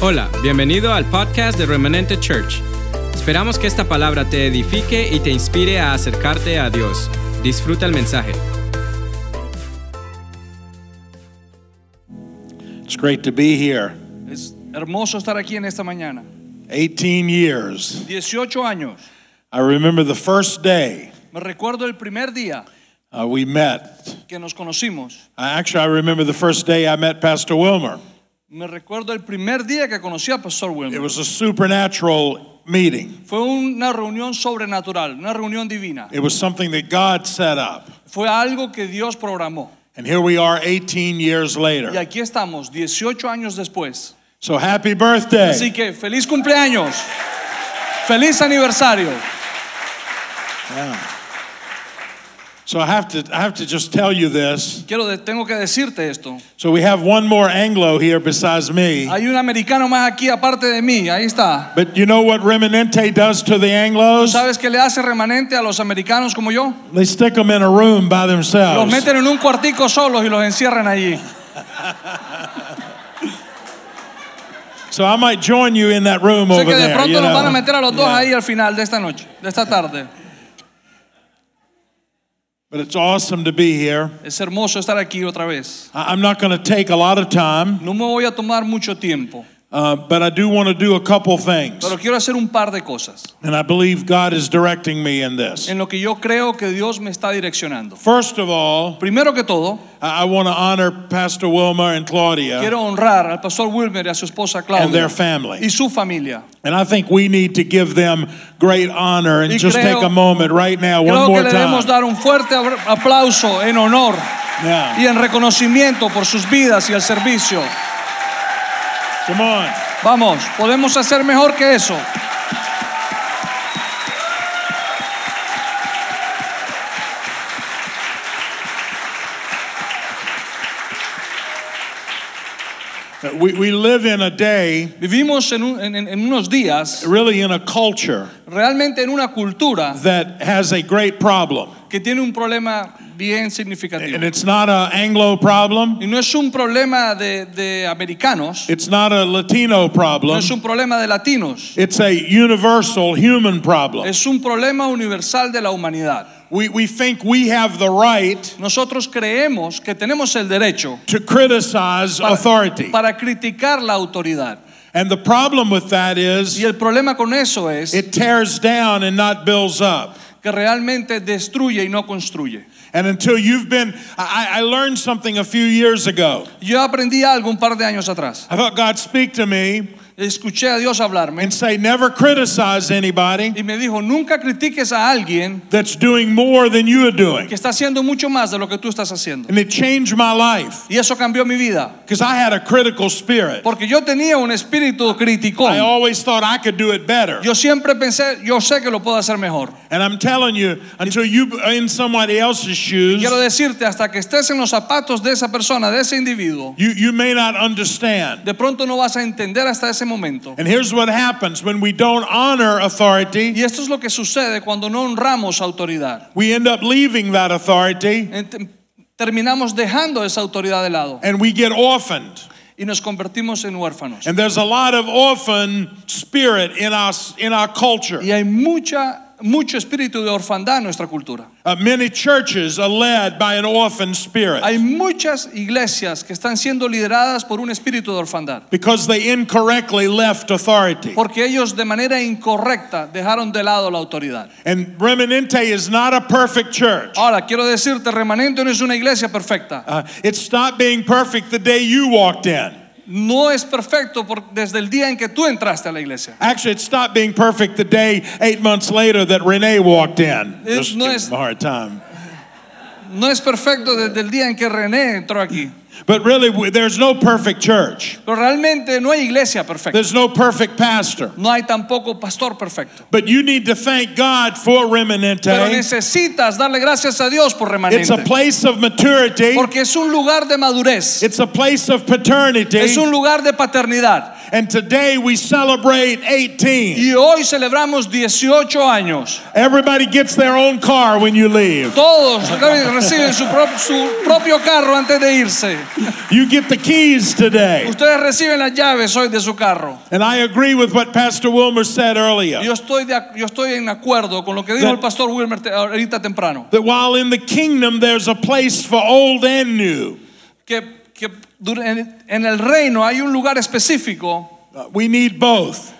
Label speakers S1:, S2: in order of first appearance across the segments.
S1: Hola, bienvenido al podcast de Remanente Church. Esperamos que esta palabra te edifique y te inspire a acercarte a Dios. Disfruta el mensaje.
S2: It's great to be here.
S3: Es hermoso estar aquí en esta mañana.
S2: 18 years.
S3: 18 años.
S2: I remember the first day
S3: Me recuerdo el primer día
S2: uh, we met.
S3: que nos conocimos.
S2: I- Actually, I remember the first day I met Pastor Wilmer.
S3: Me recuerdo el primer día que conocí a Pastor
S2: It
S3: Wilmer.
S2: was a supernatural meeting,
S3: Fue una reunión sobrenatural, una reunión divina.
S2: it was something that God set up.
S3: Fue algo que Dios programó.
S2: And here we are 18 years
S3: Y
S2: later.
S3: aquí estamos, 18 años después.
S2: So happy
S3: Así
S2: birthday.
S3: que feliz cumpleaños. Feliz aniversario.
S2: Yeah. So I have to I have to just tell you this.
S3: Quiero de- tengo que decirte esto.
S2: So we have one more Anglo here besides me.
S3: Hay un americano más aquí aparte de mí, ahí está.
S2: But you know what Remanente does to the Anglos?
S3: ¿Sabes qué le hace remanente a los americanos como yo?
S2: They stick them in a room by
S3: Los
S2: themselves.
S3: meten en un cuartico solos y los encierran allí.
S2: So I might join you in that room
S3: Sé
S2: over
S3: que de
S2: there. you
S3: pronto nos
S2: know.
S3: van a meter a los dos
S2: Yeah.
S3: ahí al final de esta noche, de esta tarde.
S2: But it's awesome to be here.
S3: Es hermoso estar aquí otra vez.
S2: I- I'm not going to take a lot of time,
S3: No me voy a tomar mucho tiempo,
S2: uh, but I do want to do a couple things.
S3: pero quiero hacer un par de cosas
S2: And I believe God is directing me in this.
S3: en lo que yo creo que Dios me está direccionando.
S2: First of all,
S3: Primero que todo,
S2: I, I want to honor Pastor Wilmer and Claudia
S3: quiero honrar al pastor Wilmer y a su esposa
S2: and their
S3: Claudia y
S2: family.
S3: su familia.
S2: And I think we need to give them great honor and
S3: Y
S2: just
S3: creo-
S2: take a moment right now, one
S3: Creo que
S2: more
S3: le debemos
S2: time.
S3: dar un fuerte abra- aplauso en honor
S2: Yeah.
S3: y en reconocimiento por sus vidas y el servicio.
S2: Come on.
S3: Vamos, podemos hacer mejor que eso.
S2: We, we live in a day,
S3: Vivimos en, un- en- en unos días,
S2: really in a culture
S3: realmente en una cultura
S2: that has a great problem.
S3: que tiene un problema bien
S2: And
S3: significativo.
S2: it's not a Anglo problem.
S3: Y no es un problema de, de americanos,
S2: It's not a Latino
S3: no
S2: problem.
S3: es un problema de latinos,
S2: It's a universal human problem.
S3: es un problema universal de la humanidad.
S2: We, we think we have the right
S3: Nosotros creemos que tenemos el derecho
S2: to criticize
S3: para,
S2: authority.
S3: para criticar la autoridad.
S2: And the problem with that
S3: Y
S2: is
S3: el problema con eso es
S2: it tears down and not builds up.
S3: que realmente destruye y no construye.
S2: And until you've been, I, I learned something a few years ago.
S3: Yo aprendí algo un par de años atrás.
S2: I felt God speak to me
S3: Escuché a Dios hablarme
S2: and say, never criticize anybody
S3: y me dijo, nunca critiques a alguien
S2: that's doing more than you are doing.
S3: que está haciendo mucho más de lo que tú estás haciendo.
S2: And it changed my life
S3: Y eso cambió mi vida,
S2: because I had a critical spirit.
S3: porque yo tenía un espíritu crítico.
S2: I always thought I could do it better.
S3: Yo siempre pensé, yo sé que lo puedo hacer mejor.
S2: And I'm telling you, until you are in somebody else's shoes,
S3: Quiero decirte, hasta que estés en los zapatos de esa persona, de ese individuo,
S2: you, you may not understand.
S3: de pronto no vas a entender hasta ese momento.
S2: And here's what happens when we don't honor
S3: Y
S2: authority,
S3: esto es lo que sucede cuando no honramos autoridad.
S2: we end up leaving that authority
S3: Ent- Terminamos dejando esa autoridad de lado
S2: and we get orphaned.
S3: y nos convertimos en huérfanos.
S2: And there's a lot of orphan spirit in our, in our culture.
S3: Y hay mucha, mucho espíritu de orfandad en nuestra cultura.
S2: Uh, many churches are led by an orphan spirit
S3: Hay muchas iglesias que están siendo lideradas por un espíritu de orfandad,
S2: because they incorrectly left authority.
S3: porque ellos de manera incorrecta dejaron de lado la autoridad.
S2: And Remanente is not a perfect church.
S3: Ahora, quiero decirte, Remanente no es una iglesia perfecta.
S2: Uh, it stopped being perfect the day you walked in.
S3: No es perfecto por- desde el día en que tú entraste a la iglesia.
S2: Actually, it stopped being perfect the day eight months later that Renee walked in.
S3: It-
S2: Just
S3: no,
S2: giving
S3: it's-
S2: him a hard time.
S3: No es perfecto desde el día en que René entró aquí.
S2: But really, we- there's no perfect church.
S3: Pero realmente no hay iglesia perfecta.
S2: There's no perfect pastor.
S3: No hay tampoco pastor perfecto.
S2: But you need to thank God for
S3: Pero
S2: Remanente.
S3: necesitas darle gracias a Dios por
S2: It's a
S3: Remanente.
S2: place of maturity.
S3: Porque es un lugar de madurez.
S2: It's a place of paternity.
S3: Es un lugar de paternidad.
S2: And today we celebrate 18.
S3: Y hoy celebramos 18 años.
S2: Everybody gets their own car when you leave.
S3: Todos reciben su, prop- su propio carro antes de irse.
S2: You get the keys today.
S3: Ustedes reciben las llaves hoy de su carro.
S2: And I agree with what Pastor Wilmer said earlier.
S3: Yo estoy, de ac- yo estoy en acuerdo con lo que dijo
S2: That-
S3: el pastor Wilmer te- ahorita temprano.
S2: That while in the kingdom there's a place for old and new,
S3: Que, que dur- en, en el reino hay un lugar específico
S2: uh, we need both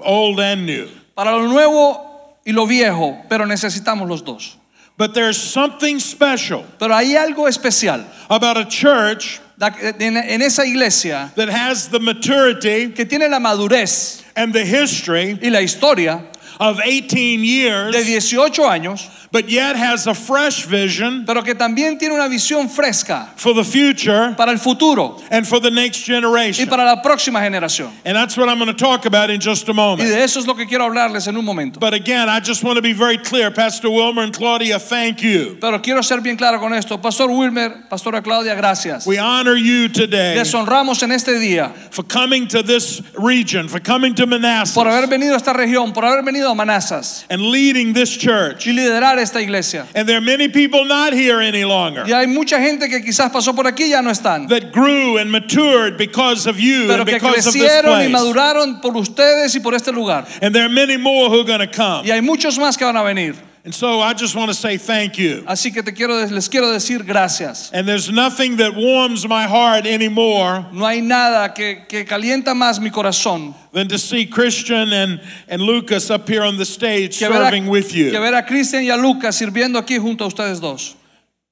S2: old and new.
S3: para lo nuevo y lo viejo, pero necesitamos los dos.
S2: But there's something special
S3: Pero hay algo especial
S2: about a church
S3: da- en, en esa iglesia
S2: that has the maturity
S3: que tiene la madurez
S2: and the history
S3: y la historia
S2: of 18
S3: de
S2: years,
S3: 18 años,
S2: but yet has a fresh vision
S3: pero que también tiene una visión fresca
S2: for the future
S3: para el futuro
S2: and for the next
S3: y
S2: generation.
S3: para la próxima generación.
S2: And that's what I'm going to talk about in just a
S3: Y
S2: moment.
S3: de eso es lo que quiero hablarles en un momento.
S2: But again, I just want to be very clear. Pastor Wilmer and Claudia, thank you.
S3: Pero quiero ser bien claro con esto. Pastor Wilmer, Pastora Claudia, gracias.
S2: We honor you today
S3: Les honramos en este día
S2: for coming to this region, for coming to
S3: por haber
S2: Manassas
S3: venido a esta región, por haber venido a Manazas
S2: and leading this church.
S3: y liderar esta iglesia.
S2: And there are many people not here any longer
S3: Y hay mucha gente que quizás pasó por aquí y ya no están,
S2: that grew and matured because of you
S3: pero
S2: and
S3: que
S2: because of this
S3: crecieron y
S2: place.
S3: maduraron por ustedes y por este lugar.
S2: And there are many more who are going to come.
S3: Y hay muchos más que van a venir.
S2: And so I just want to say thank you.
S3: Así que te quiero, les quiero decir gracias.
S2: And there's nothing that warms my heart anymore
S3: No hay nada que, que calienta más mi corazón
S2: than to see Christian and, and Lucas up here on the stage
S3: que ver a,
S2: serving with
S3: que
S2: you.
S3: ver a Cristian y a Lucas sirviendo aquí junto a ustedes dos.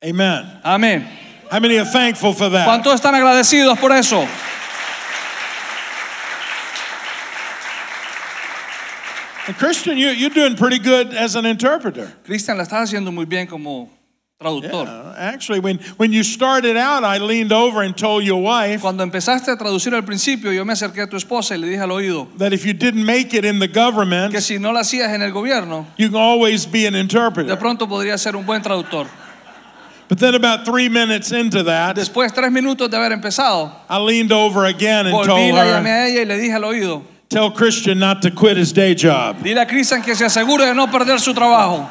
S2: Amen.
S3: Amén.
S2: How many are thankful for that?
S3: ¿Cuántos están agradecidos por eso?
S2: And Christian, you, you're doing pretty good as an interpreter.
S3: Cristian, la estás haciendo muy bien como traductor.
S2: Yeah, actually, when, when you started out, I leaned over and told your wife
S3: Cuando empezaste a traducir al principio, yo me acerqué a tu esposa y le dije al oído
S2: that if you didn't make it in the government,
S3: que si no la hacías en el gobierno,
S2: you can always be an
S3: de
S2: interpreter.
S3: pronto podría ser un buen traductor.
S2: But then, about three minutes into that,
S3: Después, tres minutos de haber empezado,
S2: I leaned over again and
S3: volví,
S2: told
S3: la llamé
S2: her,
S3: a ella y le dije al oído,
S2: Tell Christian not to quit his day job.
S3: dile a Cristian que se asegure de no perder su trabajo.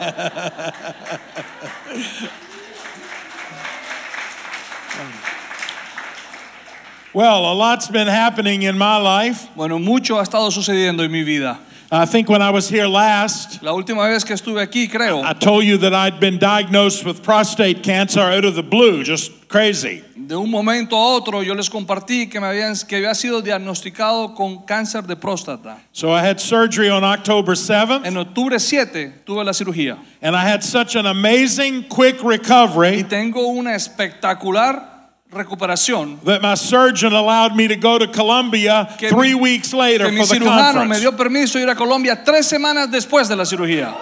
S2: Well, a lot's been happening in my life.
S3: Bueno, mucho ha estado sucediendo en mi vida.
S2: I think when I was here last,
S3: La última vez que estuve aquí, creo,
S2: I told you that I'd been diagnosed with prostate cancer out of the blue, just crazy.
S3: de un momento a otro yo les compartí que me habían que había sido diagnosticado con cáncer de próstata.
S2: So I had surgery on October 7th.
S3: En octubre 7 tuve la cirugía
S2: And I had such an amazing quick
S3: y
S2: recovery
S3: tengo una espectacular recuperación.
S2: that my surgeon allowed me to go to Colombia
S3: Que
S2: three
S3: mi-
S2: weeks later
S3: Que mi
S2: for the
S3: cirujano me
S2: conference.
S3: dio permiso de ir a Colombia tres semanas después de la cirugía.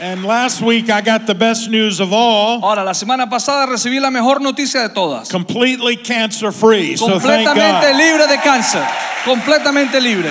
S2: And last week I got the best news of all
S3: Ahora, la semana pasada recibí la mejor noticia de todas.
S2: completely cancer free. So thank
S3: Completamente
S2: God.
S3: libre de cáncer. Completamente libre.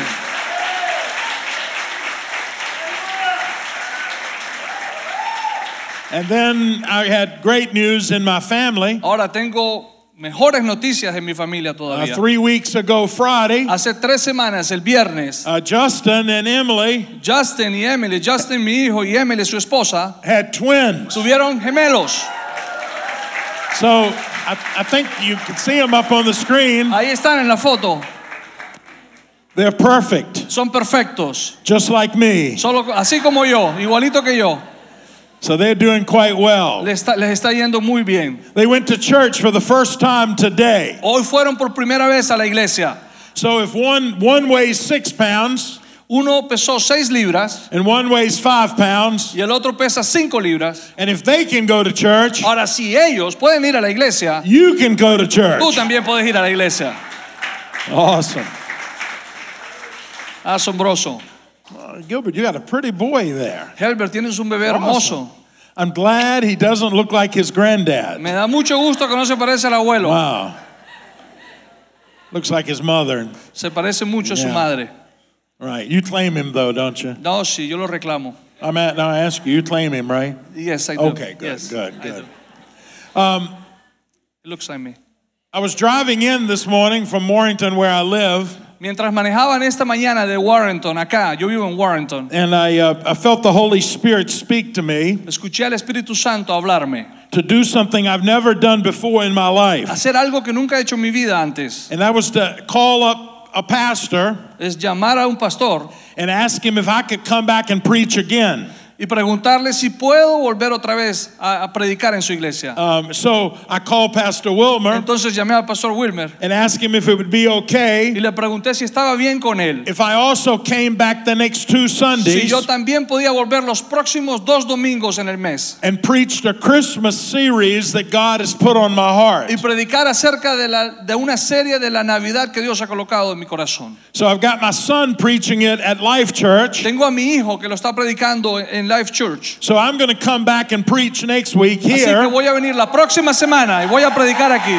S2: And then I had great news in my family.
S3: Ahora tengo mejores noticias en mi familia
S2: Uh,
S3: todavía.
S2: three weeks ago, Friday,
S3: Hace tres semanas, el viernes,
S2: uh, Justin and Emily
S3: Justin y Emily, Justin mi hijo y Emily su esposa,
S2: had twins.
S3: tuvieron gemelos.
S2: So I, I think you can see them up on the screen.
S3: Ahí están en la foto.
S2: They're perfect,
S3: Son perfectos.
S2: just like me.
S3: Solo, así como yo, igualito que yo,
S2: So they're doing quite well.
S3: les está, les está yendo muy bien.
S2: They went to church for the first time today.
S3: Hoy fueron por primera vez a la iglesia.
S2: So if one one weighs six pounds
S3: Uno pesó 6 libras
S2: and one weighs five pounds,
S3: y el otro pesa 5 libras.
S2: and if they can go to church,
S3: Ahora, si ellos pueden ir a la iglesia,
S2: you can go to church.
S3: tú también puedes ir a la iglesia.
S2: Awesome.
S3: Asombroso.
S2: Uh, Gilbert, you got a pretty boy there.
S3: Helbert, tienes un bebé hermoso.
S2: I'm glad he doesn't look like his granddad.
S3: Me da mucho gusto que no se parece al abuelo.
S2: Wow. Looks like his mother.
S3: Se parece mucho a su
S2: Yeah.
S3: madre.
S2: Right. You claim him though, don't you?
S3: No, sí, yo lo reclamo.
S2: I'm at, now I ask you, you claim him, right?
S3: Yes, I do.
S2: Okay, good,
S3: Yes,
S2: good,
S3: I
S2: good.
S3: do.
S2: Um,
S3: He looks at me.
S2: I was driving in this morning from Warrington, where I live,
S3: Mientras manejaban esta mañana de Warrenton, acá, yo vivo en Warrenton,
S2: and I, uh, I felt the Holy Spirit speak to me
S3: escuché al Espíritu Santo hablarme,
S2: to do something I've never done before in my life.
S3: hacer algo que nunca he hecho en mi vida antes,
S2: And that was to call up a pastor
S3: es llamar a un pastor
S2: and ask him if I could come back and preach again.
S3: y preguntarle si puedo volver otra vez a, a predicar en su iglesia.
S2: Um, so I called Pastor Wilmer
S3: Entonces llamé al pastor Wilmer
S2: and asked him if it would be okay
S3: y le pregunté si estaba bien con él,
S2: if I also came back the next two
S3: si
S2: Sundays
S3: yo también podía volver los próximos dos domingos en el mes
S2: and preached a Christmas series that God has put on my heart.
S3: y predicar acerca de, la, de una serie de la Navidad que Dios ha colocado en mi corazón.
S2: So I've got my son preaching it at Life Church.
S3: Tengo a mi hijo que lo está predicando en Life Church.
S2: So I'm going to come back and preach next week
S3: Así que
S2: here.
S3: voy a venir la próxima semana y voy a predicar aquí.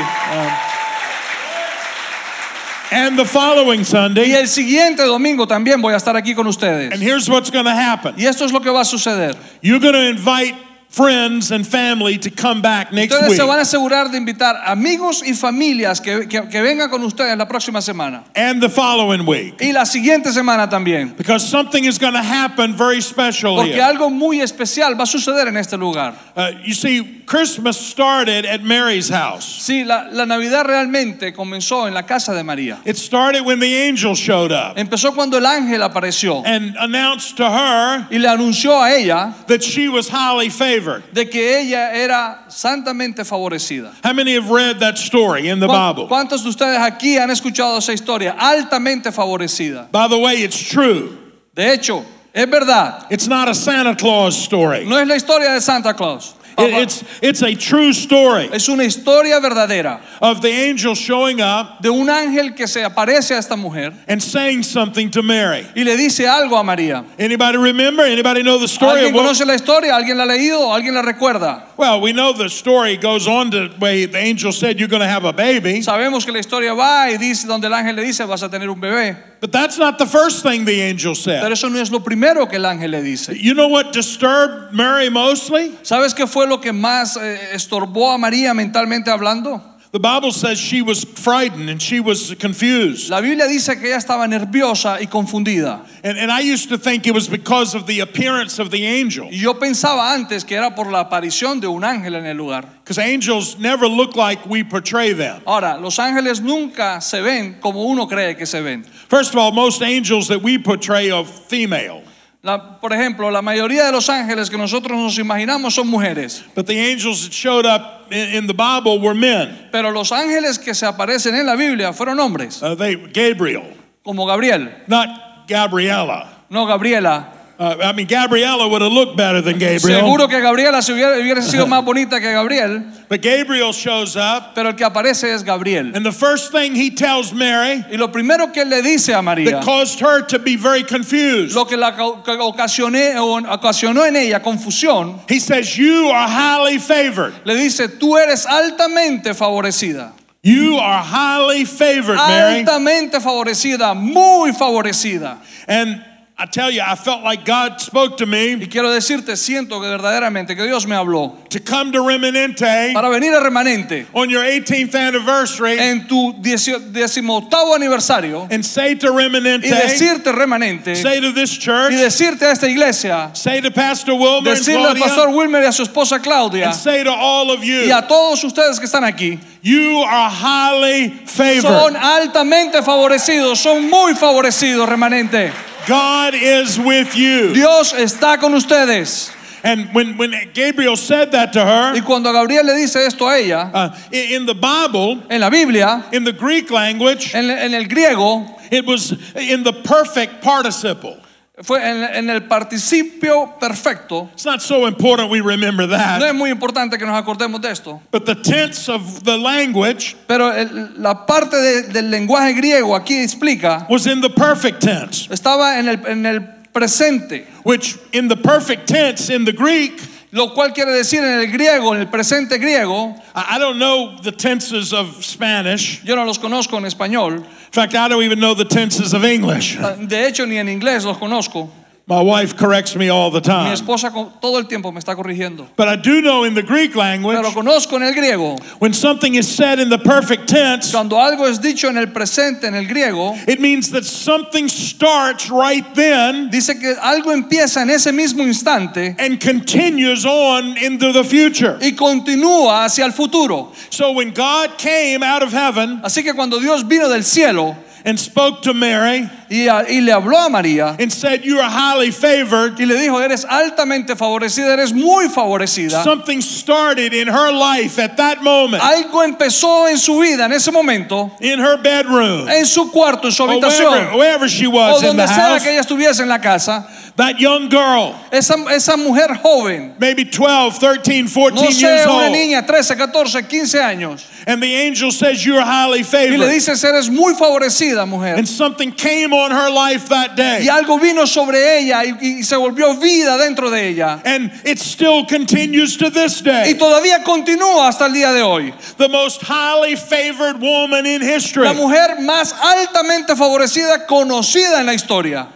S2: and the following
S3: Y
S2: Sunday.
S3: el siguiente domingo también voy a estar aquí con ustedes.
S2: And here's what's going to happen
S3: Y esto es lo que va a suceder.
S2: you're going to invite friends and family to come back next
S3: Ustedes
S2: week.
S3: se van a asegurar de invitar amigos y familias que, que- que vengan con ustedes la próxima semana.
S2: And the following week.
S3: Y la siguiente semana también.
S2: Because something is going to happen very special
S3: Porque
S2: here.
S3: algo muy especial va a suceder en este lugar.
S2: Uh, you see, Christmas started at Mary's house.
S3: Sí, la, la Navidad realmente comenzó en la casa de María.
S2: It started when the angel showed up
S3: Empezó cuando el ángel apareció
S2: and announced to her
S3: y le anunció a ella
S2: that she was highly favored.
S3: de que ella era santamente favorecida.
S2: How many have read that story in the
S3: ¿Cuán-
S2: Bible?
S3: ¿Cuántos de ustedes aquí han escuchado esa historia? Altamente favorecida.
S2: By the way, it's true.
S3: De hecho, es verdad.
S2: It's not a Santa Claus story.
S3: No es la historia de Santa Claus.
S2: It- it's, it's a true story
S3: es una historia verdadera
S2: of the angel showing up
S3: de un ángel que se aparece a esta mujer
S2: and saying something to Mary.
S3: y le dice algo a María.
S2: Anybody remember? Anybody know the story?
S3: ¿Alguien
S2: Of what,
S3: conoce la historia? ¿Alguien la ha leído? ¿Alguien la recuerda?
S2: well, we know the story goes on to where the angel said you're going to have a baby,
S3: Sabemos que la historia va y dice donde el ángel le dice vas a tener un bebé,
S2: but that's not the first thing the angel
S3: pero
S2: said.
S3: eso no es lo primero que el ángel le dice.
S2: You know what disturbed Mary mostly?
S3: ¿Sabes qué fue lo que más eh, estorbó a María mentalmente hablando?
S2: The Bible says she was frightened and she was confused.
S3: La Biblia dice que ella estaba nerviosa y confundida.
S2: And, and I used to think it was because of the appearance of the angel,
S3: Y yo pensaba antes que era por la aparición de un ángel en el lugar.
S2: because angels never look like we portray them.
S3: Ahora, los ángeles nunca se ven como uno cree que se ven.
S2: First of all, most angels that we portray are female,
S3: La- por ejemplo, la mayoría de los ángeles que nosotros nos imaginamos son mujeres,
S2: but the angels that showed up in, in the Bible were men.
S3: pero los ángeles que se aparecen en la Biblia fueron hombres,
S2: Uh, they Gabriel,
S3: como Gabriel,
S2: not Gabriella.
S3: no Gabriela.
S2: Uh, I mean, Gabriella would have looked better than Gabriel,
S3: Seguro que Gabriela se hubiera, hubiera sido más bonita que Gabriel,
S2: but Gabriel shows up,
S3: pero el que aparece es Gabriel.
S2: and the first thing he tells Mary
S3: Y lo primero que él le dice a María,
S2: that caused her to be very confused.
S3: lo que la ca- ca- ocasioné- o- ocasionó en ella confusión,
S2: He says, "You are highly favored.
S3: le dice, tú eres altamente favorecida.
S2: You are highly favored, Mary."
S3: Altamente favorecida, muy favorecida.
S2: And I tell you, I felt like God spoke to
S3: Y
S2: me
S3: quiero decirte, siento que verdaderamente que Dios me habló
S2: to come to Remanente.
S3: para venir a remanente
S2: on your 18th anniversary
S3: en tu diecio- decimoctavo aniversario
S2: and say to
S3: y
S2: Remanente,
S3: decirte remanente
S2: say to this
S3: y
S2: church,
S3: decirte a esta iglesia,
S2: say to Pastor Wilmer and
S3: decirle al pastor
S2: Claudia,
S3: Wilmer y a su esposa Claudia
S2: and say to all of
S3: y
S2: you,
S3: a todos ustedes que están aquí,
S2: you are highly
S3: son
S2: favored.
S3: altamente favorecidos, son muy favorecidos remanente.
S2: God is with you.
S3: Dios está con ustedes.
S2: And when, when Gabriel said that to
S3: Y
S2: her,
S3: cuando Gabriel le dice esto a ella,
S2: uh, i- in the Bible,
S3: en la Biblia,
S2: in the Greek language,
S3: en, en el griego,
S2: it was in the perfect participle.
S3: fue en, en el participio perfecto.
S2: It's not so important we remember
S3: No es
S2: that,
S3: muy importante que nos acordemos de esto,
S2: but the tense of the language
S3: pero el- la parte de- del lenguaje griego aquí explica,
S2: was in the perfect tense.
S3: estaba en el, en el presente,
S2: which in the perfect tense in the Greek,
S3: lo cual quiere decir en el griego, en el presente griego,
S2: I I don't know the tenses of Spanish.
S3: yo no los conozco en español,
S2: In fact, I don't even know the tenses of English.
S3: de hecho ni en inglés los conozco,
S2: My wife corrects me all the
S3: Mi
S2: time.
S3: esposa con- todo el tiempo me está corrigiendo.
S2: But I do know in the Greek language,
S3: Pero conozco en el griego,
S2: when something is said in the perfect tense,
S3: cuando algo es dicho en el presente, en el griego,
S2: it means that something starts right then
S3: dice que algo empieza en ese mismo instante
S2: and continues on into the future.
S3: y continúa hacia el futuro.
S2: So when God came out of heaven
S3: Así que cuando Dios vino del cielo
S2: and spoke to Mary
S3: y, a- y le habló a María
S2: and said, You are highly favored,
S3: y le dijo, eres altamente favorecida, eres muy favorecida,
S2: something started in her life at that moment,
S3: algo empezó en su vida en ese momento,
S2: in her bedroom,
S3: en su cuarto, en su
S2: or wherever,
S3: habitación,
S2: wherever she
S3: o
S2: was in the
S3: donde sea
S2: house.
S3: que ella estuviese en la casa,
S2: That young girl,
S3: esa, esa mujer joven,
S2: maybe 12, 13, 14
S3: no
S2: years
S3: sé, una
S2: old.
S3: niña, 13, 14, 15 años,
S2: And the angel says, You're highly
S3: y le
S2: favored.
S3: dices, eres muy favorecida, mujer.
S2: And something came on her life that
S3: Y
S2: day.
S3: algo vino sobre ella y, y se volvió vida dentro de ella.
S2: And it still continues to this
S3: Y
S2: day.
S3: todavía continúa hasta el día de hoy.
S2: The most highly favored woman in history.
S3: La mujer más altamente favorecida conocida en la historia.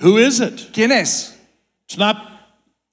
S2: Who is it?
S3: ¿Quién es?
S2: It's not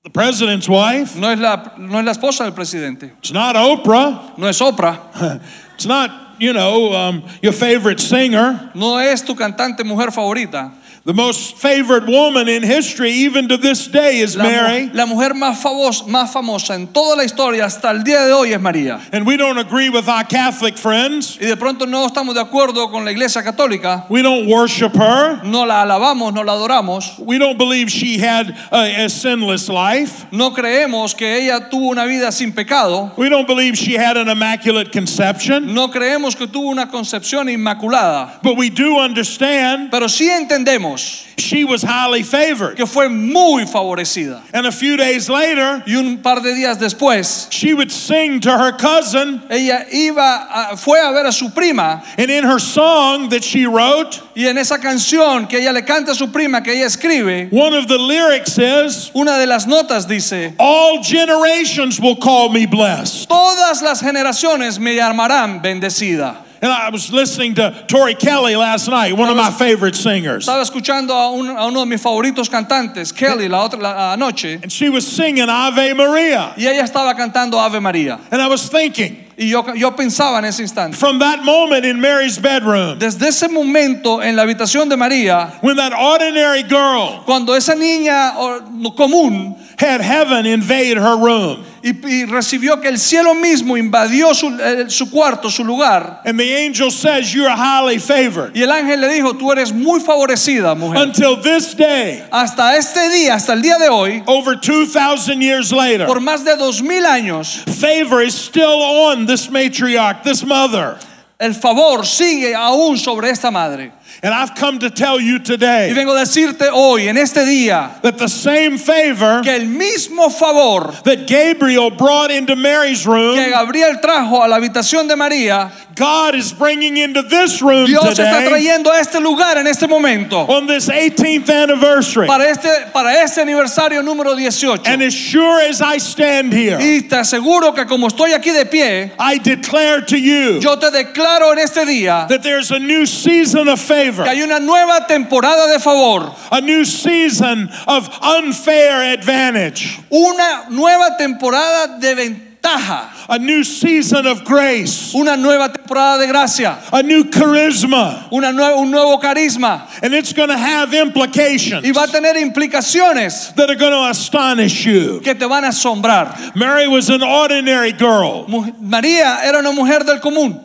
S2: the president's wife.
S3: No es la, no es la esposa del presidente.
S2: It's not Oprah.
S3: No es Oprah.
S2: It's not, you know, um, your favorite singer.
S3: No es tu cantante mujer favorita.
S2: The most favored woman in history, even to this day, is
S3: La, mu-
S2: Mary.
S3: la mujer más, favos- más famosa en toda la historia hasta el día de hoy es María.
S2: And we don't agree with our Catholic friends.
S3: Y de pronto no estamos de acuerdo con la iglesia católica.
S2: We don't worship her.
S3: No la alabamos, no la adoramos.
S2: We don't believe she had a, a sinless life.
S3: No creemos que ella tuvo una vida sin pecado.
S2: We don't believe she had an immaculate conception,
S3: No creemos que tuvo una concepción inmaculada.
S2: but we do understand
S3: Pero sí entendemos
S2: she was highly favored.
S3: que fue muy favorecida.
S2: And a few days later,
S3: Y un par de días después,
S2: she would sing to her cousin,
S3: ella iba a- fue a ver a su prima
S2: and in her song that she wrote,
S3: y en esa canción que ella le canta a su prima, que ella escribe,
S2: one of the lyrics is,
S3: una de las notas dice,
S2: All generations will call me blessed.
S3: todas las generaciones me llamarán bendecida.
S2: And I was listening to Tori Kelly last night, one of my favorite singers.
S3: Estaba escuchando a, un- a uno de mis favoritos cantantes, Kelly, la otra la- anoche,
S2: And she was singing Ave Maria.
S3: y ella estaba cantando Ave María.
S2: And I was thinking,
S3: Y yo, yo pensaba en ese instante.
S2: from that moment in Mary's bedroom,
S3: Desde ese momento en la habitación de María,
S2: when that ordinary girl
S3: cuando esa niña or- común
S2: had heaven invade her room.
S3: y, y recibió que el cielo mismo invadió su, eh, su cuarto, su lugar,
S2: And the angel says, You're highly favored.
S3: y el ángel le dijo, tú eres muy favorecida, mujer.
S2: Until this day,
S3: Hasta este día, hasta el día de hoy,
S2: over 2,000 years later,
S3: por más de dos mil años,
S2: favor is still on this matriarch, this mother.
S3: el favor sigue aún sobre esta madre.
S2: And I've come to tell you
S3: Y
S2: today
S3: vengo a decirte hoy, en este día,
S2: that the same favor
S3: que el mismo favor
S2: that Gabriel brought into Mary's
S3: que
S2: room,
S3: Gabriel trajo a la habitación de María,
S2: God is bringing into this room
S3: Dios está
S2: today
S3: trayendo a este lugar en este momento.
S2: on this 18th anniversary.
S3: para este, para este aniversario número 18.
S2: And as sure as I stand here,
S3: Y te aseguro que como estoy aquí de pie,
S2: I declare to you
S3: yo te declaro en este día
S2: that there's a new season of favor.
S3: que hay una nueva temporada de favor,
S2: a new season of unfair advantage,
S3: una nueva temporada de ventaja,
S2: a new season of grace,
S3: una nueva temporada de gracia,
S2: a new charisma,
S3: una nue- un nuevo carisma
S2: and it's going to have implications
S3: y va a tener implicaciones
S2: that are going to astonish you.
S3: que te van a asombrar.
S2: Mary was an ordinary girl.
S3: Mu- María era una mujer del común.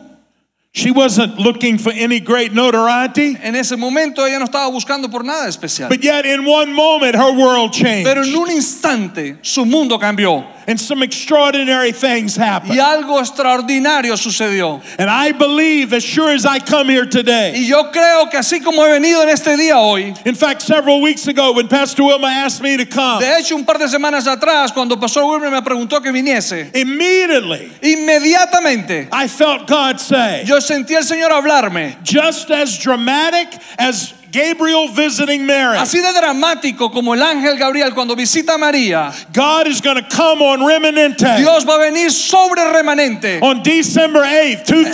S2: She wasn't looking for any great notoriety,
S3: En ese momento ella no estaba buscando por nada especial.
S2: but yet in one moment her world
S3: Pero en
S2: changed
S3: un instante su mundo cambió.
S2: and some extraordinary things
S3: Y
S2: happened.
S3: algo extraordinario sucedió.
S2: And I believe as sure as I come here today,
S3: Y yo creo que así como he venido en este día hoy,
S2: in fact, several weeks ago when Pastor Wilma asked me to come,
S3: de hecho un par de semanas atrás, cuando Pastor Wilmer me preguntó que viniese,
S2: immediately
S3: inmediatamente
S2: I felt God say,
S3: yo sentí al Señor hablarme.
S2: just as dramatic as Gabriel visiting Mary.
S3: Así de dramático como el ángel Gabriel cuando visita a María,
S2: God is going to come on Remanente
S3: Dios va a venir sobre remanente
S2: on December 8th,
S3: en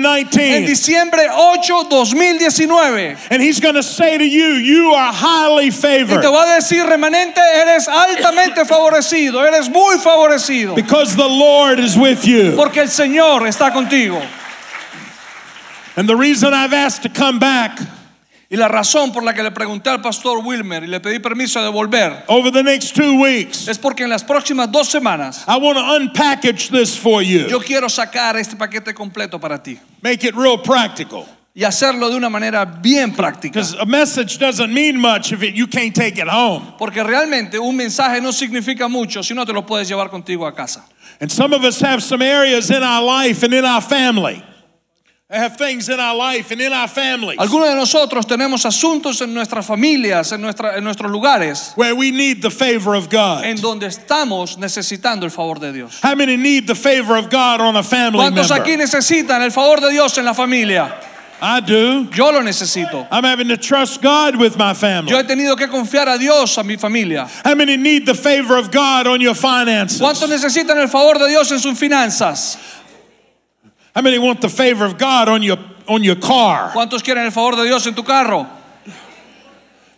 S2: 2019.
S3: diciembre 8, 2019.
S2: And he's going to say to you, You are highly
S3: Y
S2: favored.
S3: te va a decir, remanente, eres altamente favorecido, eres muy favorecido,
S2: Because the Lord is with you.
S3: porque el Señor está contigo.
S2: And the reason I've asked to come back
S3: Y la razón por la que le pregunté al pastor Wilmer y le pedí permiso de volver
S2: over the next two weeks,
S3: es porque en las próximas dos semanas
S2: I want to unpackage this for
S3: yo
S2: you,
S3: quiero sacar este paquete completo para ti
S2: make it real practical.
S3: y hacerlo de una manera bien práctica.
S2: Because a message doesn't mean much if it, you can't take it home.
S3: Porque realmente un mensaje no significa mucho si no te lo puedes llevar contigo a casa.
S2: And some of us have some areas in our life and in our family. I have things in our life and in our families
S3: Algunos de nosotros tenemos asuntos en nuestras familias, en, nuestra- en nuestros lugares,
S2: where we need the favor of God.
S3: en donde estamos necesitando el favor de Dios.
S2: How many need the favor of God on a family
S3: ¿Cuántos aquí
S2: member?
S3: necesitan el favor de Dios en la familia?
S2: I do.
S3: Yo lo necesito.
S2: I'm having to trust God with my family.
S3: Yo he tenido que confiar a Dios a mi familia.
S2: How many need the favor of God on your finances?
S3: ¿Cuántos necesitan el favor de Dios en sus finanzas?
S2: How many want the favor of God on your on your car?
S3: ¿Cuántos quieren el favor de Dios en tu carro?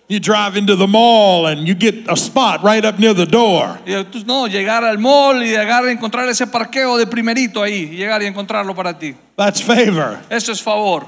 S2: You drive into the mall and you get a spot right up near the door.
S3: Y tú, no, llegar al mall y llegar a encontrar ese parqueo de primerito ahí, y llegar y encontrarlo para ti.
S2: That's favor.
S3: Eso es favor.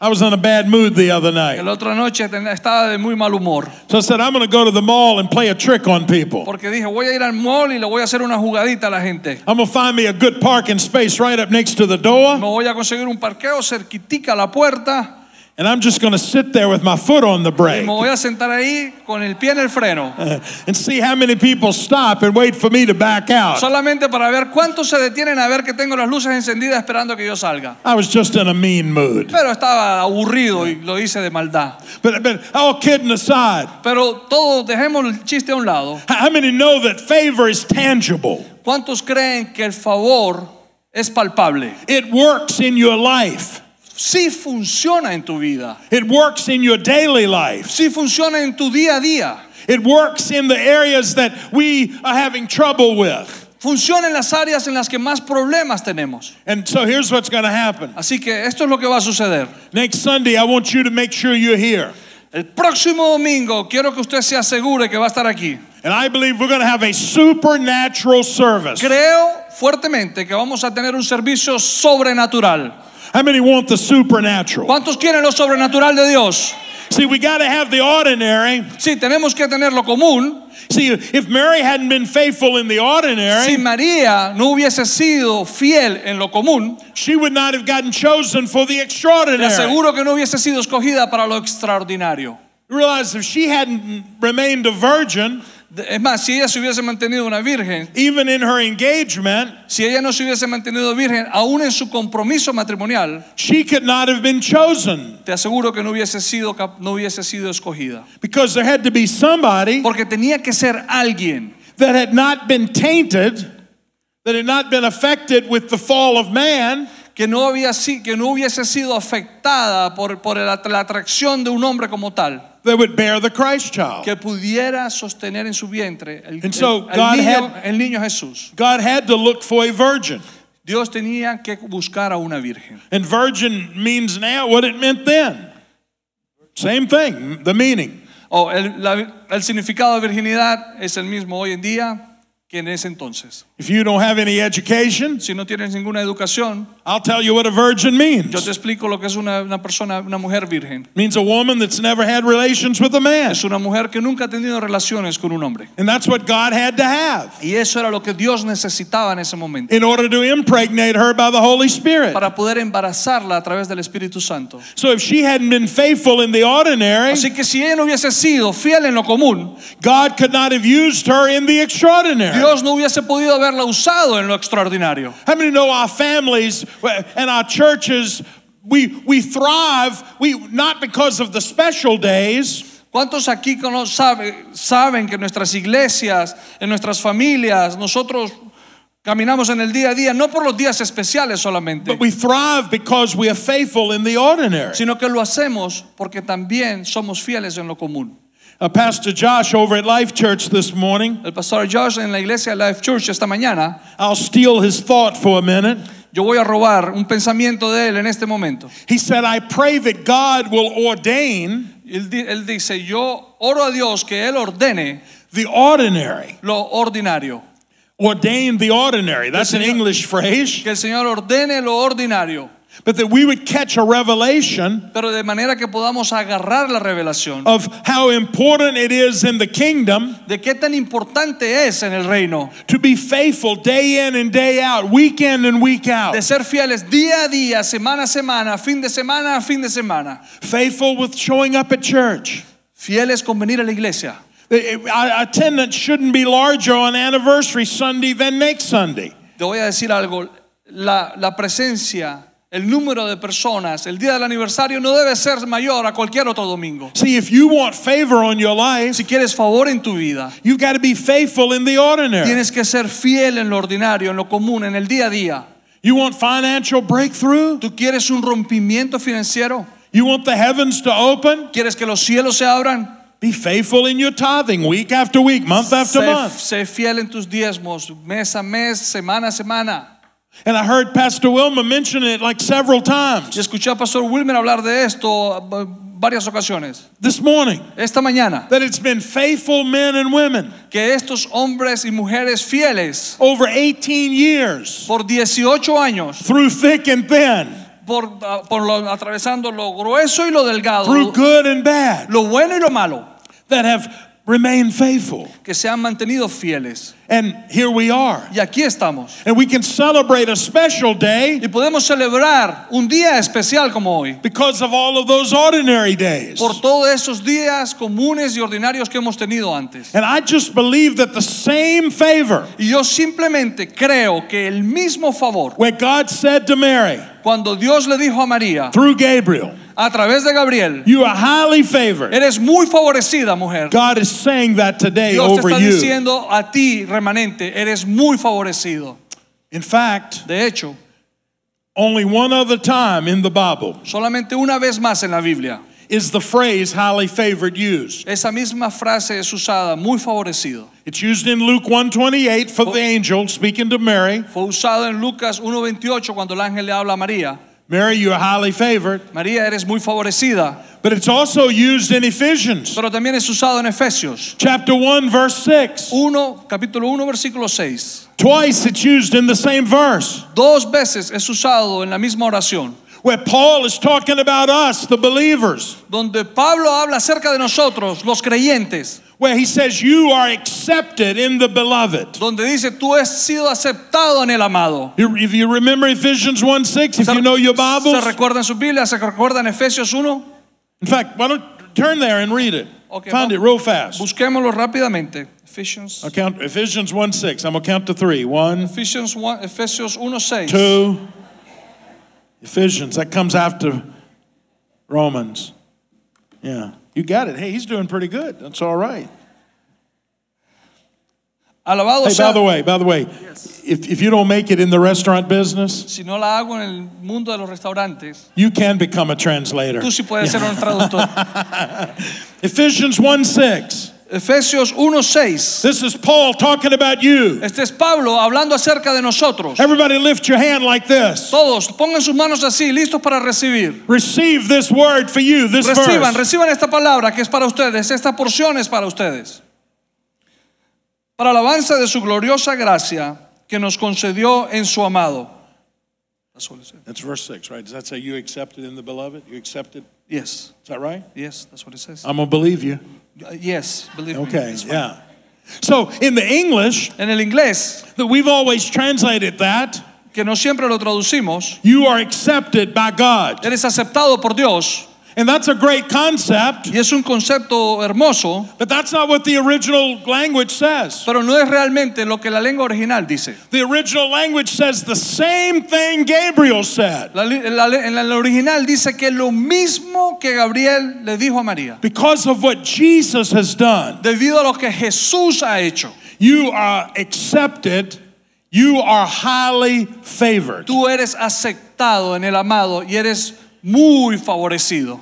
S2: I was in a bad mood the other night.
S3: La otra noche ten- estaba de muy mal humor
S2: So I said, I'm going to go to the mall and play a trick on people.
S3: porque dije, voy a ir al mall y le voy a hacer una jugadita a la gente.
S2: I'm going to find me a good parking space right up next to the
S3: Me
S2: door,
S3: voy a conseguir un parqueo cerquitica a la puerta
S2: and I'm just going to sit there with my foot on the
S3: y
S2: brake
S3: me voy a sentar ahí con el pie en el freno.
S2: uh, and see how many people stop and wait for me to back out.
S3: Solamente para ver cuántos se detienen a ver que tengo las luces encendidas esperando que yo salga.
S2: I was just in a mean mood.
S3: Pero estaba aburrido y lo hice de maldad.
S2: But, but all kidding aside,
S3: Pero todos dejemos el chiste a un lado.
S2: how how many know that favor is tangible?
S3: ¿Cuántos creen que el favor es palpable?
S2: It works in your life.
S3: Sí funciona en tu vida.
S2: It works in your daily life.
S3: Sí funciona en tu día a día.
S2: It works in the areas that we are having trouble with.
S3: funciona en las áreas en las que más problemas tenemos.
S2: And so here's what's going to happen.
S3: Así que esto es lo que va a suceder.
S2: Next Sunday, I want you to make sure you're here.
S3: El próximo domingo quiero que usted se asegure que va a estar aquí.
S2: And I believe we're going to have a supernatural service.
S3: Creo fuertemente que vamos a tener un servicio sobrenatural.
S2: How many want the supernatural?
S3: ¿Cuántos quieren lo sobrenatural de Dios?
S2: See, we got to have the ordinary.
S3: Sí, tenemos que tener lo común.
S2: See, if Mary hadn't been faithful in the
S3: Si
S2: ordinary,
S3: María no hubiese sido fiel en lo común,
S2: she would not have gotten chosen for the
S3: le
S2: extraordinary.
S3: aseguro que no hubiese sido escogida para lo extraordinario.
S2: Realize if she hadn't remained a virgin,
S3: De- Es más, si ella se hubiese mantenido una virgen,
S2: even in her engagement,
S3: si ella no se hubiese mantenido virgen, aún en su compromiso matrimonial,
S2: she could not have been chosen
S3: te aseguro que no hubiese sido cap- no hubiese sido escogida
S2: because there had to be somebody
S3: porque tenía que ser alguien
S2: that had not been tainted, that had not been affected with the fall of man,
S3: que no había si- que no hubiese sido afectada por, por la, la atracción de un hombre como tal
S2: that would bear the Christ child.
S3: que pudiera sostener en su vientre el,
S2: And so
S3: el- el
S2: God
S3: niño,
S2: had-
S3: el niño Jesús
S2: God had to look for a virgin.
S3: Dios tenía que buscar a una virgen
S2: And virgin means now what it meant then. Same thing, the meaning.
S3: Oh, el, la- el significado de virginidad es el mismo hoy en día que en ese entonces
S2: If you don't have any education,
S3: si no tienes ninguna educación
S2: I'll tell you what a virgin means.
S3: yo te explico lo que es una, una persona una mujer virgen
S2: It means a woman that's never had relations with a man.
S3: es una mujer que nunca ha tenido relaciones con un hombre
S2: And that's what God had to have
S3: Y eso era lo que Dios necesitaba en ese momento
S2: in order to impregnate her by the Holy Spirit.
S3: para poder embarazarla a través del Espíritu Santo.
S2: So if she hadn't been faithful in the ordinary,
S3: Así que si ella no hubiese sido fiel en lo común,
S2: God could not have used her in the extraordinary.
S3: Dios no hubiese podido haberla usado en lo extraordinario.
S2: How many know our families and our churches? We, we thrive we not because of the special days,
S3: ¿Cuántos aquí cono- sabe- saben que en nuestras iglesias, en nuestras familias, nosotros Caminamos en el día a día, no por los días especiales solamente,
S2: But we thrive because we are faithful in the ordinary.
S3: sino que lo hacemos porque también somos fieles en lo común.
S2: Uh, Pastor Josh over at Life Church this morning,
S3: El pastor Josh en la iglesia Life Church esta mañana,
S2: I'll steal his thought for a minute.
S3: yo voy a robar un pensamiento de él en este momento.
S2: He said, I pray that God will ordain
S3: Él, di- él dice, yo oro a Dios que Él ordene
S2: the ordinary.
S3: lo ordinario,
S2: Ordain the ordinary. That's an
S3: Señor-
S2: English phrase.
S3: que el Señor ordene lo ordinario,
S2: But that we would catch a revelation
S3: pero de manera que podamos agarrar la revelación
S2: of how important it is in the kingdom
S3: de qué tan importante es en el reino
S2: to be faithful day in and day out, week in and week out.
S3: de ser fieles día a día, semana a semana, fin de semana a fin de semana,
S2: Faithful with showing up at church.
S3: fieles con venir a la iglesia.
S2: It- it- Our attendance shouldn't be larger on anniversary Sunday than next Sunday.
S3: Te voy a decir algo, la, la presencia, el número de personas, el día del aniversario no debe ser mayor a cualquier otro domingo.
S2: See, if you want favor on your life,
S3: Si quieres favor en tu vida,
S2: you've got to be faithful in the ordinary.
S3: tienes que ser fiel en lo ordinario, en lo común, en el día a día.
S2: You want financial breakthrough?
S3: ¿Tú quieres un rompimiento financiero?
S2: You want the heavens to open?
S3: ¿Quieres que los cielos se abran?
S2: Be faithful in your tithing week after week, month after
S3: Sé,
S2: month.
S3: sé fiel en tus diezmos, mes a mes, semana a semana.
S2: And I heard Pastor Wilma mention it like several
S3: Y
S2: times
S3: escuché a Pastor Wilmer hablar de esto eh, varias ocasiones.
S2: this morning
S3: Esta mañana,
S2: that it's been faithful men and women
S3: que estos hombres y mujeres fieles
S2: over 18 years
S3: por 18 años,
S2: through thick and thin,
S3: por, ah, por lo- atravesando lo grueso y lo delgado,
S2: through good and bad,
S3: lo bueno y lo malo,
S2: that have remained faithful.
S3: que se han mantenido fieles.
S2: And here we are.
S3: Y aquí estamos.
S2: And we can celebrate a special day
S3: Y podemos celebrar un día especial como hoy,
S2: because of all of those ordinary days.
S3: por todos esos días comunes y ordinarios que hemos tenido antes.
S2: And I just believe that the same favor
S3: Y yo simplemente creo que el mismo favor,
S2: where God said to Mary
S3: cuando Dios le dijo a María,
S2: through Gabriel,
S3: a través de Gabriel,
S2: you are highly favored.
S3: Eres muy favorecida, mujer.
S2: God is saying that today
S3: Dios te
S2: over
S3: está
S2: you.
S3: diciendo a ti, remanente, eres muy favorecido.
S2: In fact,
S3: De hecho,
S2: only one other time in the Bible
S3: solamente una vez más en la Biblia,
S2: is the phrase highly favored used.
S3: esa misma frase es usada, muy favorecido.
S2: It's used in Luke 128 for the angel speaking to Mary.
S3: Fue usado en Lucas 1.28 cuando el ángel le habla a María.
S2: Mary, you are highly favored.
S3: María, eres muy favorecida.
S2: But it's also used in Ephesians
S3: Pero también es usado en Efesios
S2: chapter 1 verse 6.
S3: 1, capítulo 1, versículo 6.
S2: Twice it's used in the same verse
S3: Dos veces es usado en la misma oración,
S2: where Paul is talking about us the believers
S3: donde Pablo habla acerca de nosotros, los creyentes.
S2: where he says you are accepted in the beloved.
S3: donde dice tú has sido aceptado en el amado.
S2: You- If you remember Ephesians 1 6, if you know your
S3: ¿Se
S2: Bibles,
S3: recuerdan sus Biblias? ¿Se recuerdan Efesios 1?
S2: in fact, why don't turn there and read it.
S3: Okay,
S2: Find
S3: vamos.
S2: it real fast.
S3: Busquémoslo rápidamente. Efesios,
S2: I'll count Ephesians 1 6. I'm going to count to three. One,
S3: Efesios 1, Efesios 1, 6.
S2: two, Ephesians. That comes after Romans. Yeah, you got it. Hey, he's doing pretty good. That's all right.
S3: Alabado
S2: Hey, by
S3: sea.
S2: the way, by the way, if, if you don't make it in the restaurant business,
S3: Si no la hago en el mundo de los restaurantes,
S2: you can become a translator.
S3: tú sí puedes ser un traductor.
S2: Ephesians 1 6.
S3: Efesios 1, 6.
S2: This is Paul talking about you.
S3: Este es Pablo hablando acerca de nosotros.
S2: Everybody lift your hand like this.
S3: Todos pongan sus manos así, listos para recibir.
S2: Receive this word for you, this
S3: Reciban,
S2: verse.
S3: reciban esta palabra que es para ustedes, esta porción es para ustedes. Para alabanza de su gloriosa gracia que nos concedió en su amado. eh. That's what it says.
S2: That's verse 6, right? Does that say you accepted in the beloved? You accepted?
S3: Yes,
S2: Is that right?
S3: yes, that's what it says.
S2: I'm going to believe you.
S3: Uh, Yes, believe me,
S2: Okay,
S3: it's fine.
S2: yeah. So in the English,
S3: En el inglés,
S2: that we've always translated that,
S3: que no siempre lo traducimos,
S2: you are accepted by God.
S3: eres aceptado por Dios
S2: And that's a great concept,
S3: y es un concepto hermoso,
S2: but that's not what the original language says.
S3: pero no es realmente lo que la lengua original dice.
S2: The original language says the same thing Gabriel said.
S3: La li- la le- en la original dice que lo mismo que Gabriel le dijo a María.
S2: Because of what Jesus has done,
S3: debido a lo que Jesús ha hecho.
S2: you are accepted You are highly favored.
S3: Tú eres aceptado en el amado y eres muy favorecido.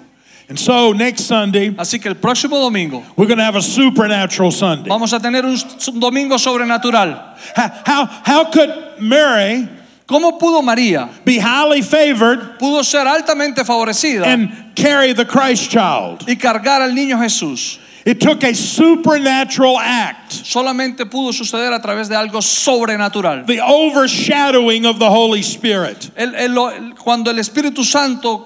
S2: And so next Sunday,
S3: Así que el próximo domingo
S2: we're going to have a supernatural Sunday.
S3: vamos a tener un s- un domingo sobrenatural.
S2: How, how, how could Mary
S3: ¿Cómo pudo María?
S2: be highly favored
S3: Pudo ser altamente favorecida
S2: and carry the Christ child?
S3: y cargar al niño Jesús.
S2: It took a supernatural act,
S3: Solamente pudo suceder a través de algo sobrenatural.
S2: the overshadowing of the Holy Spirit.
S3: El- el- el- cuando el Espíritu Santo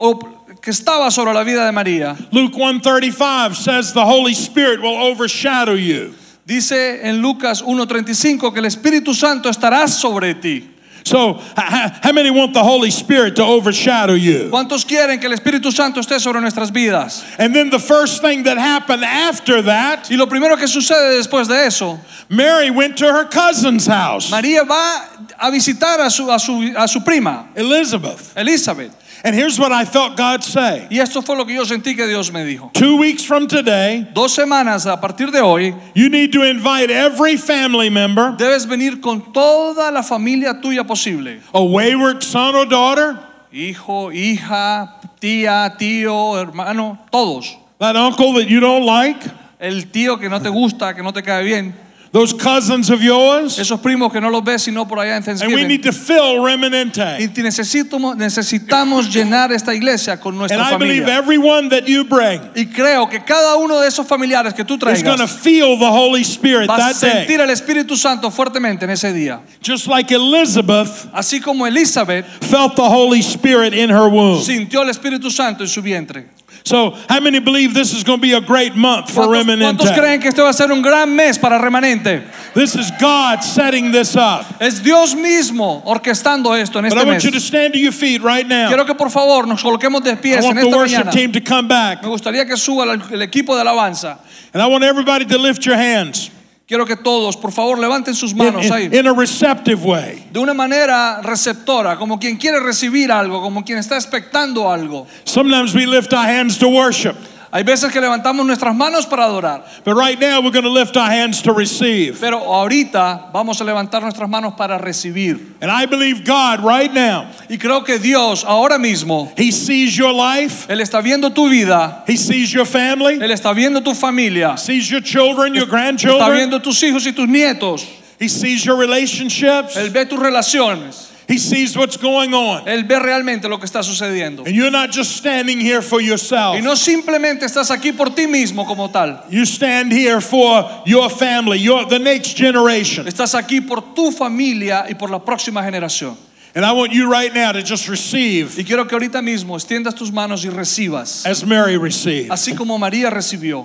S3: o- que estaba sobre la vida de María,
S2: Luke 135 says the Holy Spirit will overshadow you.
S3: dice en Lucas 1.35 que el Espíritu Santo estará sobre ti.
S2: So, h- h- how many want the Holy Spirit to overshadow you?
S3: ¿Cuántos quieren que el Espíritu Santo esté sobre nuestras vidas?
S2: And then the first thing that happened after that,
S3: Y lo primero que sucede después de eso,
S2: Mary went to her cousin's house,
S3: María va a visitar a su, a su, a su prima,
S2: Elizabeth.
S3: Elizabeth.
S2: And here's what I felt God say
S3: Y esto fue lo que yo sentí que Dios me dijo.
S2: Two weeks from today,
S3: Dos semanas a partir de hoy,
S2: you need to invite every family member,
S3: debes venir con toda la familia tuya posible.
S2: a wayward son or daughter,
S3: Hijo, hija, tía, tío, hermano, todos.
S2: that uncle that you don't like,
S3: El tío que no te gusta, que no te cae bien.
S2: those cousins of yours.
S3: Esos primos que no los ves sino por allá en
S2: And we
S3: Thanksgiving.
S2: need to fill Remanente.
S3: Y te necesitamos, necesitamos llenar esta iglesia con
S2: And
S3: nuestra
S2: I believe
S3: familia.
S2: everyone that you bring
S3: Y creo que cada uno de esos familiares que tú
S2: is going to
S3: traigas
S2: feel the Holy Spirit
S3: va a
S2: that day.
S3: sentir al Espíritu Santo fuertemente en ese día.
S2: Just like Elizabeth
S3: Así como Elizabeth
S2: felt the Holy Spirit in her womb.
S3: sintió el Espíritu Santo en su vientre.
S2: So, how many believe this is going to be a great month for
S3: ¿Cuántos, cuántos
S2: Remanente?
S3: creen que este va a ser un gran mes para remanente?
S2: This is God setting this up.
S3: Es Dios mismo orquestando esto en
S2: But I
S3: este
S2: want
S3: mes.
S2: you to stand to your feet right now.
S3: Quiero que por favor nos coloquemos de
S2: I
S3: pies en
S2: want the
S3: esta
S2: worship
S3: mañana.
S2: team to come back.
S3: Me gustaría que suba el, el equipo de alabanza.
S2: And I want everybody to lift your hands
S3: Quiero que todos, por favor, levanten sus
S2: in,
S3: manos
S2: in-
S3: ahí.
S2: in a receptive way.
S3: De una manera receptora, como quien quiere recibir algo, como quien está expectando algo.
S2: Sometimes we lift our hands to worship,
S3: Hay veces que levantamos nuestras manos para adorar,
S2: but right now we're going to lift our hands to receive.
S3: pero ahorita vamos a levantar nuestras manos para recibir.
S2: And I believe God right now,
S3: Y creo que Dios ahora mismo,
S2: He sees your life,
S3: Él está viendo tu vida,
S2: He sees your family,
S3: Él está viendo tu familia,
S2: sees your children, your
S3: está
S2: grandchildren,
S3: viendo tus hijos y tus nietos,
S2: He sees your relationships,
S3: Él ve tus relaciones,
S2: He sees what's going on.
S3: Él ve realmente lo que está sucediendo.
S2: And you're not just standing here for yourself,
S3: Y no simplemente estás aquí por ti mismo como tal,
S2: you stand here for your family, your, the next generation.
S3: estás aquí por tu familia y por la próxima generación.
S2: And I want you right now to just receive
S3: Y quiero que ahorita mismo extiendas tus manos y recibas,
S2: as Mary received.
S3: así como María recibió.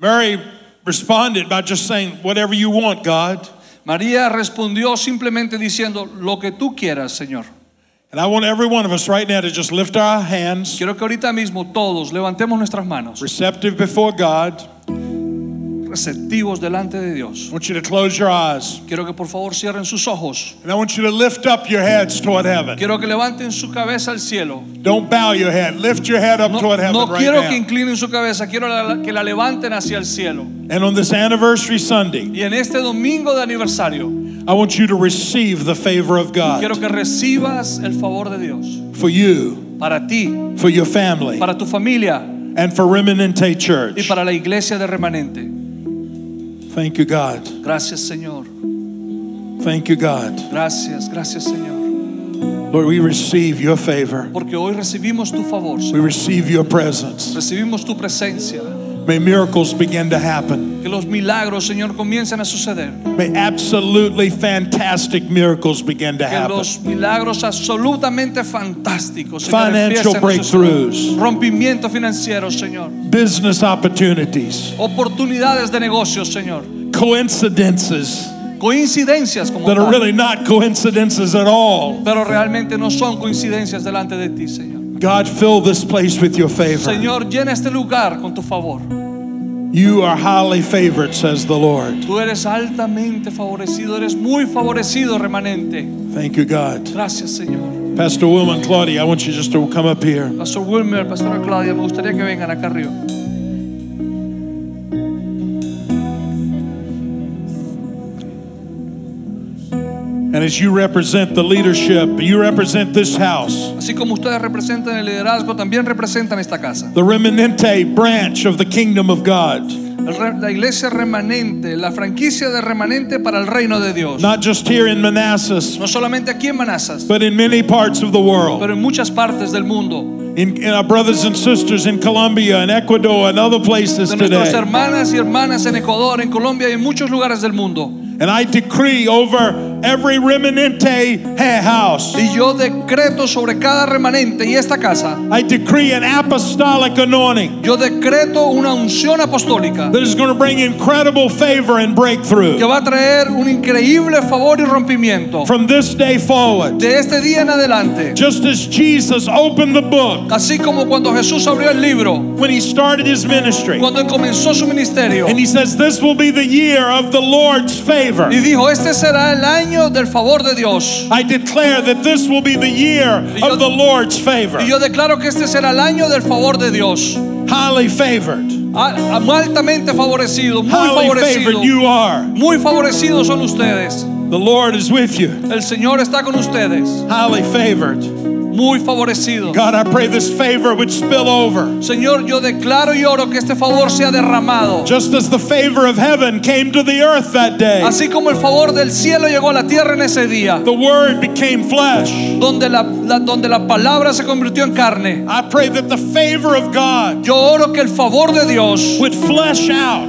S2: Mary responded by just saying, Whatever you want, God.
S3: María respondió simplemente diciendo, lo que tú quieras, Señor.
S2: And I want every one of us right now to just lift our hands,
S3: Quiero que ahorita mismo todos levantemos nuestras manos,
S2: receptive before God.
S3: receptivos delante de Dios.
S2: I want you to close your eyes.
S3: Quiero que por favor cierren sus ojos.
S2: And I want you to lift up your heads toward heaven.
S3: Quiero que levanten su cabeza al cielo.
S2: Don't bow your head. Lift your head up
S3: No,
S2: toward heaven
S3: no
S2: right
S3: quiero
S2: now.
S3: que inclinen su cabeza, quiero la- que la levanten hacia el cielo.
S2: And on this anniversary Sunday,
S3: Y en este domingo de aniversario,
S2: I want you to receive the favor of God
S3: quiero que recibas el favor de Dios
S2: for you,
S3: para ti,
S2: for your family,
S3: para tu familia
S2: and for Remanente
S3: y
S2: Church.
S3: para la iglesia de remanente.
S2: Thank you, God.
S3: Gracias, Señor.
S2: Thank you, God.
S3: Gracias, gracias, Señor.
S2: Lord, we receive your favor.
S3: Porque hoy recibimos tu favor, Señor.
S2: We receive your presence.
S3: recibimos tu presencia.
S2: May miracles begin to happen.
S3: Que los milagros, Señor, comiencen a suceder.
S2: May absolutely fantastic miracles begin to
S3: Que
S2: happen.
S3: los milagros absolutamente fantásticos, Señor,
S2: Financial
S3: empiecen a suceder.
S2: breakthroughs,
S3: Rompimiento financiero, Señor.
S2: business opportunities,
S3: Oportunidades de negocios, Señor.
S2: coincidences
S3: Coincidencias como
S2: that are
S3: tal,
S2: really not coincidences at all.
S3: pero realmente no son coincidencias delante de ti, Señor.
S2: God, fill this place with your favor.
S3: Señor, llena este lugar con tu favor.
S2: You are highly favored, says the Lord.
S3: Tú eres altamente favorecido, eres muy favorecido, remanente.
S2: Thank you, God.
S3: Gracias, Señor.
S2: Pastor Wilma and Claudia, I want you just to come up here.
S3: Pastor Wilmer, Pastora Claudia, me gustaría que vengan acá arriba.
S2: And as you represent the leadership, you represent this house,
S3: Así como ustedes representan el liderazgo, también representan esta casa.
S2: the remanente branch of the kingdom of God.
S3: El re- La iglesia remanente, la franquicia de remanente para el reino de Dios.
S2: Not just here in Manassas,
S3: No solamente aquí en Manassas,
S2: but in many parts of the world.
S3: pero en muchas partes del mundo.
S2: In, in our brothers and sisters in Colombia and Ecuador and other places
S3: De nuestras
S2: today.
S3: hermanas y hermanas en Ecuador, en Colombia y en muchos lugares del mundo.
S2: And I decree over every remanente ha- house.
S3: Y yo decreto sobre cada remanente y esta casa,
S2: I decree an apostolic anointing
S3: yo decreto una unción apostólica
S2: that is going to bring incredible favor and
S3: que
S2: breakthrough
S3: va a traer un increíble favor y rompimiento.
S2: from this day forward.
S3: De este día en adelante,
S2: Just as Jesus opened the book
S3: así como cuando Jesús abrió el libro,
S2: when he started his ministry,
S3: cuando él comenzó su ministerio,
S2: and he says, This will be the year of the Lord's favor.
S3: y dijo, este será el año del favor de Dios.
S2: I declare that this will be the year
S3: yo-
S2: of the Lord's favor.
S3: Y yo declaro que este será el año del favor de Dios.
S2: Highly favored.
S3: A- a- altamente favorecido, muy
S2: Highly
S3: favorecido.
S2: favored you are.
S3: Muy favorecidos son ustedes.
S2: The Lord is with you.
S3: El Señor está con ustedes.
S2: Highly favored.
S3: Muy favorecido.
S2: God, I pray this favor would spill over.
S3: Señor, yo declaro y oro que este favor sea derramado.
S2: Just as the favor of heaven came to the earth that day,
S3: Así como el favor del cielo llegó a la tierra en ese día,
S2: the word became flesh.
S3: donde la, la- donde la palabra se convirtió en carne.
S2: I pray that the favor of God
S3: Yo oro que el favor de Dios
S2: would flesh out,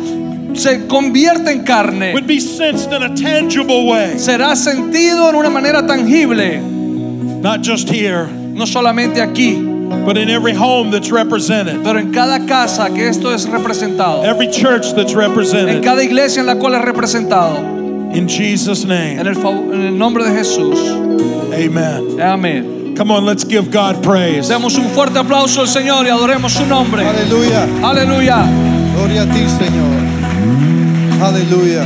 S3: se convierta en carne.
S2: would be sensed in a tangible way,
S3: Será sentido en una manera tangible,
S2: not just here,
S3: no solamente aquí,
S2: but in every home that's represented,
S3: pero en cada casa que esto es representado.
S2: every church that's
S3: en
S2: represented.
S3: cada iglesia en la cual es representado.
S2: In Jesus'
S3: En
S2: name,
S3: el, fav- en el nombre de Jesús.
S2: amen.
S3: Amén.
S2: Come on, let's give God praise.
S3: Demos un fuerte aplauso al Señor y adoremos su nombre.
S4: Aleluya.
S3: Aleluya.
S4: Gloria a ti, Señor. Aleluya.